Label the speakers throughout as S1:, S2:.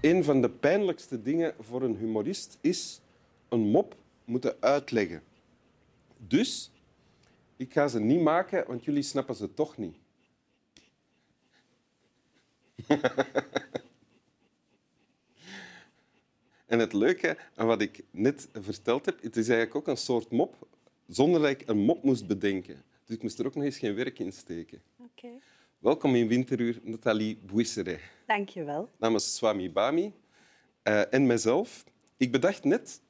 S1: een van de pijnlijkste dingen voor een humorist is een mop moeten uitleggen. Dus ik ga ze niet maken, want jullie snappen ze toch niet. en het leuke aan wat ik net verteld heb, het is eigenlijk ook een soort mop zonder dat ik een mop moest bedenken. Dus ik moest er ook nog eens geen werk in steken.
S2: Oké,
S1: Welkom in Winteruur, Nathalie Bouisseret
S2: dankjewel.
S1: namens Swami Bami eh, en mezelf. Ik bedacht net,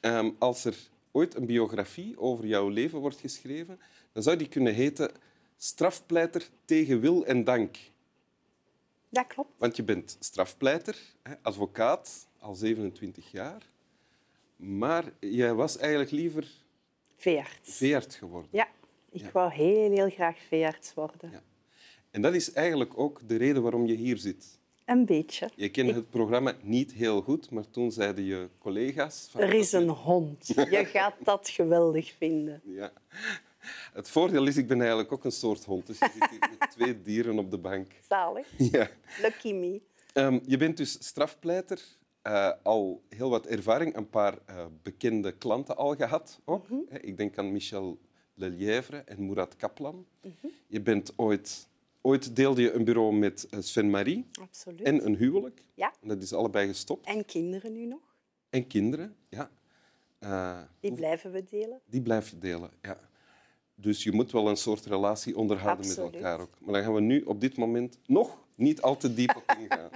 S1: ehm, als er ooit een biografie over jouw leven wordt geschreven, dan zou die kunnen heten Strafpleiter tegen wil en dank.
S2: Dat klopt.
S1: Want je bent strafpleiter, hè, advocaat, al 27 jaar. Maar jij was eigenlijk liever
S2: Veearts.
S1: veearts geworden.
S2: Ja, ik wou heel, heel graag veearts worden.
S1: Ja. En dat is eigenlijk ook de reden waarom je hier zit.
S2: Een beetje.
S1: Je kende het programma niet heel goed, maar toen zeiden je collega's... Van,
S2: Er is een hond. Je gaat dat geweldig vinden.
S1: Ja. Het voordeel is, ik ben eigenlijk ook een soort hond. Dus je zit hier met twee dieren op de bank.
S2: Zalig.
S1: Ja.
S2: Lucky me.
S1: Ehm, je bent dus strafpleiter. eh, al heel wat ervaring, een paar eh, bekende klanten al gehad. Ook. Hè, Ik denk aan Michel Lelièvre en Murat Kaplan. Je bent ooit... Ooit deelde je een bureau met eh, Sven-Marie
S2: Absoluut. En,
S1: en een huwelijk.
S2: Ja.
S1: En dat is allebei gestopt.
S2: kinderen nu nog.
S1: En kinderen, ja. Eh,
S2: Die blijven we delen.
S1: Die blijf je delen, ja. Dus je moet wel een soort relatie onderhouden
S2: Absoluut.
S1: met elkaar ook. Maar daar gaan we nu op dit moment nog niet al te diep op ingaan.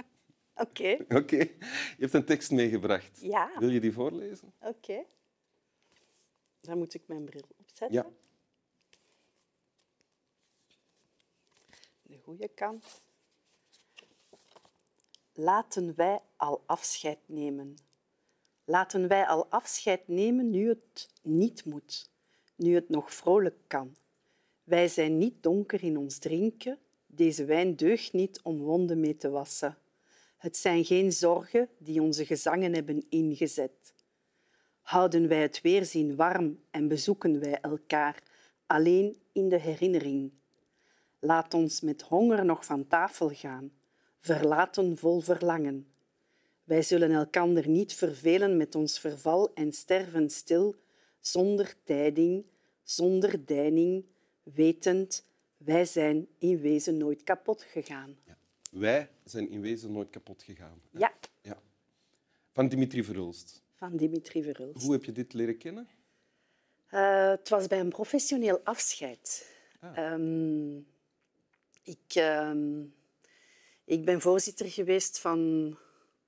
S2: Oké.
S1: Oké, je hebt een tekst meegebracht.
S2: Ja,
S1: Wil je die voorlezen?
S2: oké. Dan moet ik mijn bril opzetten.
S1: Ja.
S2: de goede kant. Laten wij al afscheid nemen. Laten wij al afscheid nemen nu het niet moet, nu het nog vrolijk kan. Wij zijn niet donker in ons drinken, deze wijn deugt niet om wonden mee te wassen. Het zijn geen zorgen die onze gezangen hebben ingezet. Houden wij het weerzien warm en bezoeken wij elkaar alleen in de herinnering. Laat ons met honger nog van tafel gaan, verlaten vol verlangen. Wij zullen elkander niet vervelen met ons verval en sterven stil, zonder tijding, zonder deining, wetend, wij zijn in wezen nooit kapot gegaan.
S1: Wij zijn in wezen nooit kapot gegaan.
S2: Ja,
S1: Ja. Van Dimitri Verhulst.
S2: van Dimitri Verhulst.
S1: Hoe heb je dit leren kennen?
S2: Eh, het was bij een professioneel afscheid.
S1: Ah.
S2: Ehm, ik, ehm, ik ben voorzitter geweest van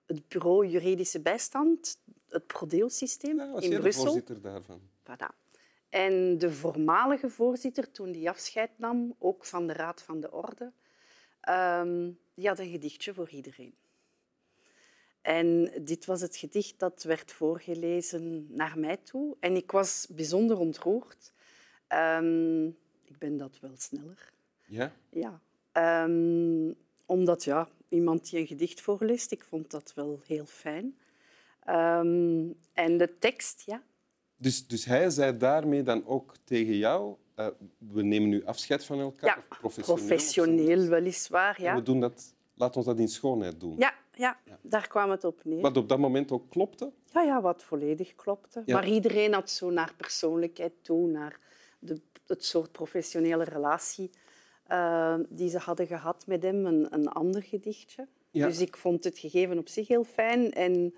S2: het bureau juridische bijstand, het Prodeo-systeem
S1: Ja, was
S2: in
S1: jij de
S2: Brussel.
S1: Nou, voorzitter daarvan?
S2: Voilà. En de voormalige voorzitter, toen die afscheid nam, ook van de Raad van de Orde, ehm, die had een gedichtje voor iedereen. En dit was het gedicht dat werd voorgelezen naar mij toe. En ik was bijzonder ontroerd. Ehm, ik ben dat wel sneller.
S1: Ja?
S2: Ja. Ehm, omdat ja, iemand die een gedicht voorleest, ik vond dat wel heel fijn. Ehm, en de tekst, ja,
S1: Dus, dus hij zei daarmee dan ook tegen jou... eh, we nemen nu afscheid van elkaar.
S2: Ja,
S1: of professioneel. of zo.
S2: professioneel weliswaar,
S1: En
S2: ja.
S1: We doen dat, laat ons dat in schoonheid doen.
S2: Ja, ja, daar kwam het op neer.
S1: Wat op dat moment ook klopte.
S2: Ja, ja, wat volledig klopte.
S1: Ja.
S2: Maar iedereen had zo naar persoonlijkheid toe, naar de, het soort professionele relatie eh, die ze hadden gehad met hem, een, een ander gedichtje.
S1: Ja.
S2: Dus ik vond het gegeven op zich heel fijn en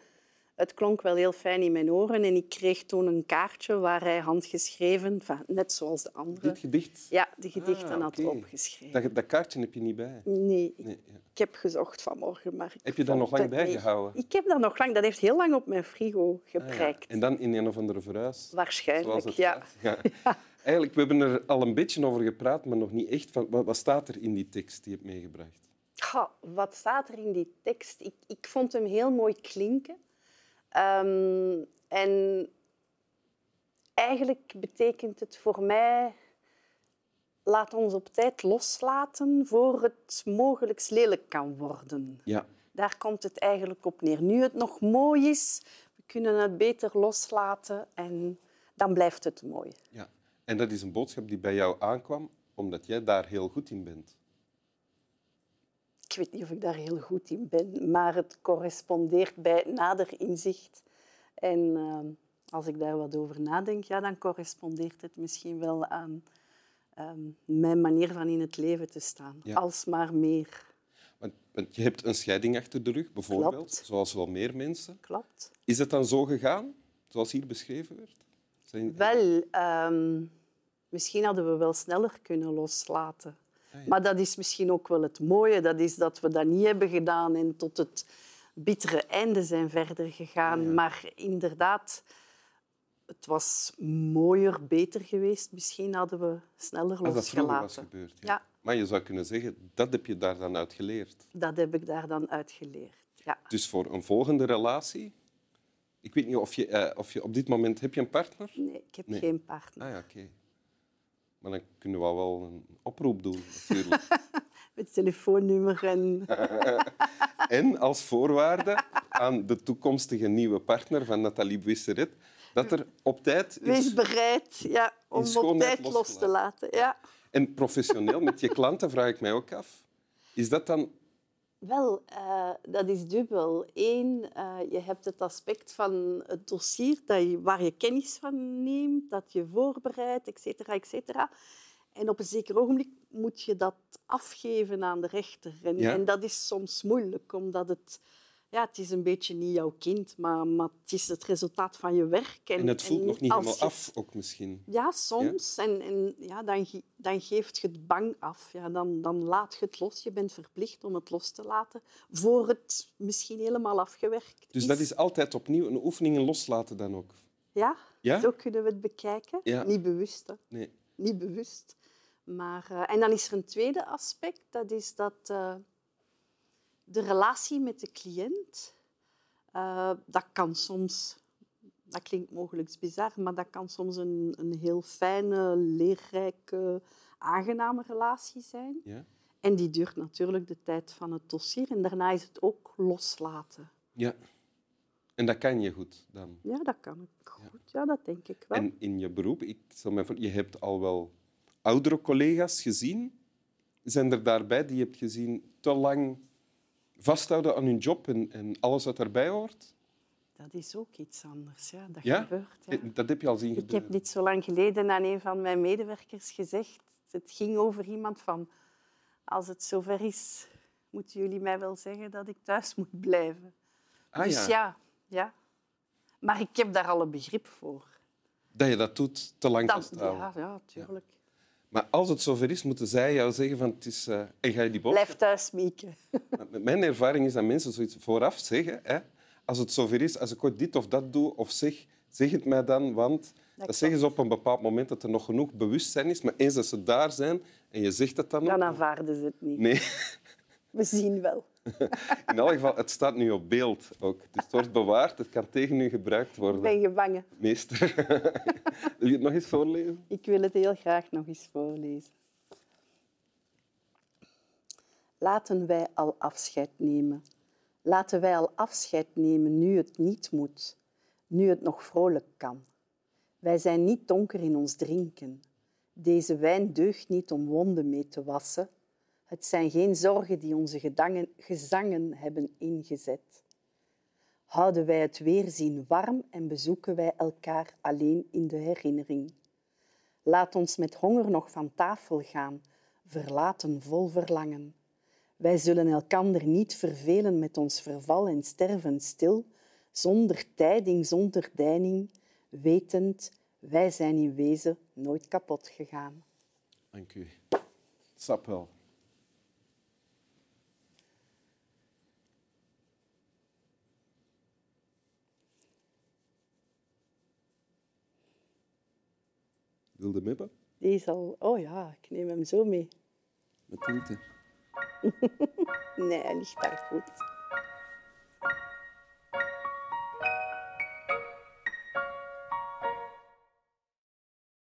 S2: het klonk wel heel fijn in mijn oren. En ik kreeg toen een kaartje waar hij handgeschreven, enfin, net zoals de andere,
S1: Dit gedicht,
S2: ja, de gedichten
S1: Ah,
S2: had
S1: oké.
S2: opgeschreven.
S1: dat, dat kaartje heb je niet bij.
S2: Nee,
S1: Nee, ja.
S2: Ik heb gezocht vanmorgen, maar ik
S1: Heb je dat
S2: vond
S1: nog lang
S2: het niet.
S1: bijgehouden?
S2: Ik heb dat nog lang. Dat heeft heel lang op mijn frigo
S1: Ah, ja.
S2: geprijkt.
S1: En dan in een of andere verhuis.
S2: Waarschijnlijk,
S1: Zoals het
S2: ja.
S1: gaat. Ja. Eigenlijk, we hebben er al een beetje over gepraat, maar nog niet echt. Van, wat, wat staat er in die tekst die je hebt meegebracht?
S2: Goh, wat staat er in die tekst? Ik, ik vond hem heel mooi klinken. Ehm, en eigenlijk betekent het voor mij... Laat ons op tijd loslaten voor het mogelijk lelijk kan worden.
S1: Ja.
S2: Daar komt het eigenlijk op neer. Nu het nog mooi is, we kunnen het beter loslaten en dan blijft het mooi.
S1: ja. En dat is een boodschap die bij jou aankwam, omdat jij daar heel goed in bent.
S2: ik weet niet of ik daar heel goed in ben, maar het correspondeert bij nader inzicht. En eh, als ik daar wat over nadenk, ja, dan correspondeert het misschien wel aan ehm, mijn manier van in het leven te staan.
S1: Ja.
S2: Alsmaar meer.
S1: Want, want je hebt een scheiding achter de rug, bijvoorbeeld,
S2: Klopt.
S1: zoals wel meer mensen.
S2: Klopt.
S1: Is het dan zo gegaan, zoals hier beschreven werd? Zijn-
S2: Wel, ehm, misschien hadden we wel sneller kunnen loslaten.
S1: Ah, ja.
S2: Maar dat is misschien ook wel het mooie. Dat is dat we dat niet hebben gedaan en tot het bittere einde zijn verder gegaan.
S1: Ja.
S2: Maar inderdaad, het was mooier, beter geweest. Misschien hadden we sneller
S1: Als dat vroeger was
S2: losgelaten.
S1: gebeurd. Ja.
S2: Ja.
S1: Maar je zou kunnen zeggen, dat heb je daar dan uit geleerd.
S2: Dat heb ik daar dan uitgeleerd. Ja.
S1: Dus voor een volgende relatie... Ik weet niet of je, eh, of je op dit moment... Heb je een partner?
S2: Nee, ik heb
S1: Nee.
S2: geen partner.
S1: Ah ja, oké. Maar dan kunnen we wel een oproep doen, natuurlijk.
S2: Het telefoonnummer en...
S1: en als voorwaarde aan de toekomstige nieuwe partner van Nathalie Buisseret, dat er op tijd is...
S2: Wees bereid ja, om op
S1: schoonheid
S2: tijd los te
S1: losgelaten.
S2: laten. Ja.
S1: En professioneel, met je klanten, vraag ik mij ook af. Is dat dan...
S2: Wel, eh, dat is dubbel. Eén, eh, je hebt het aspect van het dossier dat je, waar je kennis van neemt, dat je voorbereidt, et cetera, et cetera. En op een zeker ogenblik moet je dat afgeven aan de rechter. En,
S1: Ja.
S2: en dat is soms moeilijk, omdat het... Ja, het is een beetje niet jouw kind, maar, maar het is het resultaat van je werk.
S1: En het voelt nog niet
S2: als
S1: helemaal
S2: je-
S1: af, ook misschien.
S2: ja, soms. En, en ja, dan, ge- dan geeft je het bang af. Ja, dan, dan laat je het los. Je bent verplicht om het los te laten voor het misschien helemaal afgewerkt
S1: Dus dat is altijd opnieuw een oefening en loslaten dan ook.
S2: Ja,
S1: Ja?
S2: zo kunnen we het bekijken.
S1: Ja.
S2: Niet bewust, hè.
S1: Nee.
S2: Niet bewust. Maar, eh, en dan is er een tweede aspect. Dat is dat eh, de relatie met de cliënt... eh, dat kan soms... Dat klinkt mogelijk bizar, maar dat kan soms een, een heel fijne, leerrijke, aangename relatie zijn.
S1: Ja?
S2: En die duurt natuurlijk de tijd van het dossier. En daarna is het ook loslaten.
S1: Ja. En dat kan je goed dan.
S2: Ja, dat kan ik goed. Ja, dat denk ik wel.
S1: En in je beroep, ik stel mij voor, je hebt al wel oudere collega's gezien. Zijn er daarbij die je hebt gezien te lang vasthouden aan hun job en, en alles wat daarbij hoort?
S2: Dat is ook iets anders. Ja, dat
S1: Ja? Eh,
S2: gebeurt. Ja.
S1: Dat heb je al zien
S2: Ik heb dus
S1: gebeuren.
S2: dit zo lang geleden aan een van mijn medewerkers gezegd. Het ging over iemand van... Als het zover is, moeten jullie mij wel zeggen dat ik thuis moet blijven.
S1: Ah, ja.
S2: dus ja, ja. Maar ik heb daar al een begrip voor.
S1: Dat je dat doet, te lang
S2: Dat,
S1: vasthouden.
S2: ja, ja, tuurlijk.
S1: Maar als het zover is, moeten zij jou zeggen van het is... eh, en ga je die boodschap...
S2: Blijf thuis, Mieke.
S1: Maar met Mijn ervaring is dat mensen zoiets vooraf zeggen. Hè? Als het zover is, als ik ooit dit of dat doe of zeg, zeg het mij dan. Want dat,
S2: klopt.
S1: zeggen ze op een bepaald moment dat er nog genoeg bewustzijn is. Maar eens dat ze daar zijn en je zegt dat dan ook...
S2: Dan aanvaarden ze het niet.
S1: Nee,
S2: We zien wel.
S1: in elk geval, het staat nu op beeld ook. Dus het wordt bewaard, het kan tegen u gebruikt
S2: Ik
S1: worden.
S2: ben gevangen.
S1: Meester. Wil je het nog eens voorlezen?
S2: Ik wil het heel graag nog eens voorlezen. Laten wij al afscheid nemen. Laten wij al afscheid nemen nu het niet moet, nu het nog vrolijk kan. Wij zijn niet donker in ons drinken. Deze wijn deugt niet om wonden mee te wassen. Het zijn geen zorgen die onze gedangen, gezangen hebben ingezet. Houden wij het weerzien warm en bezoeken wij elkaar alleen in de herinnering. Laat ons met honger nog van tafel gaan, verlaten vol verlangen. Wij zullen elkander niet vervelen met ons verval en sterven stil, zonder tijding, zonder deining, wetend, wij zijn in wezen nooit kapot gegaan.
S1: Dank u. Sap wel. Wilde mibben
S2: Die is al... Oh ja, ik neem hem zo mee.
S1: met tinten.
S2: Nee, hij ligt daar goed.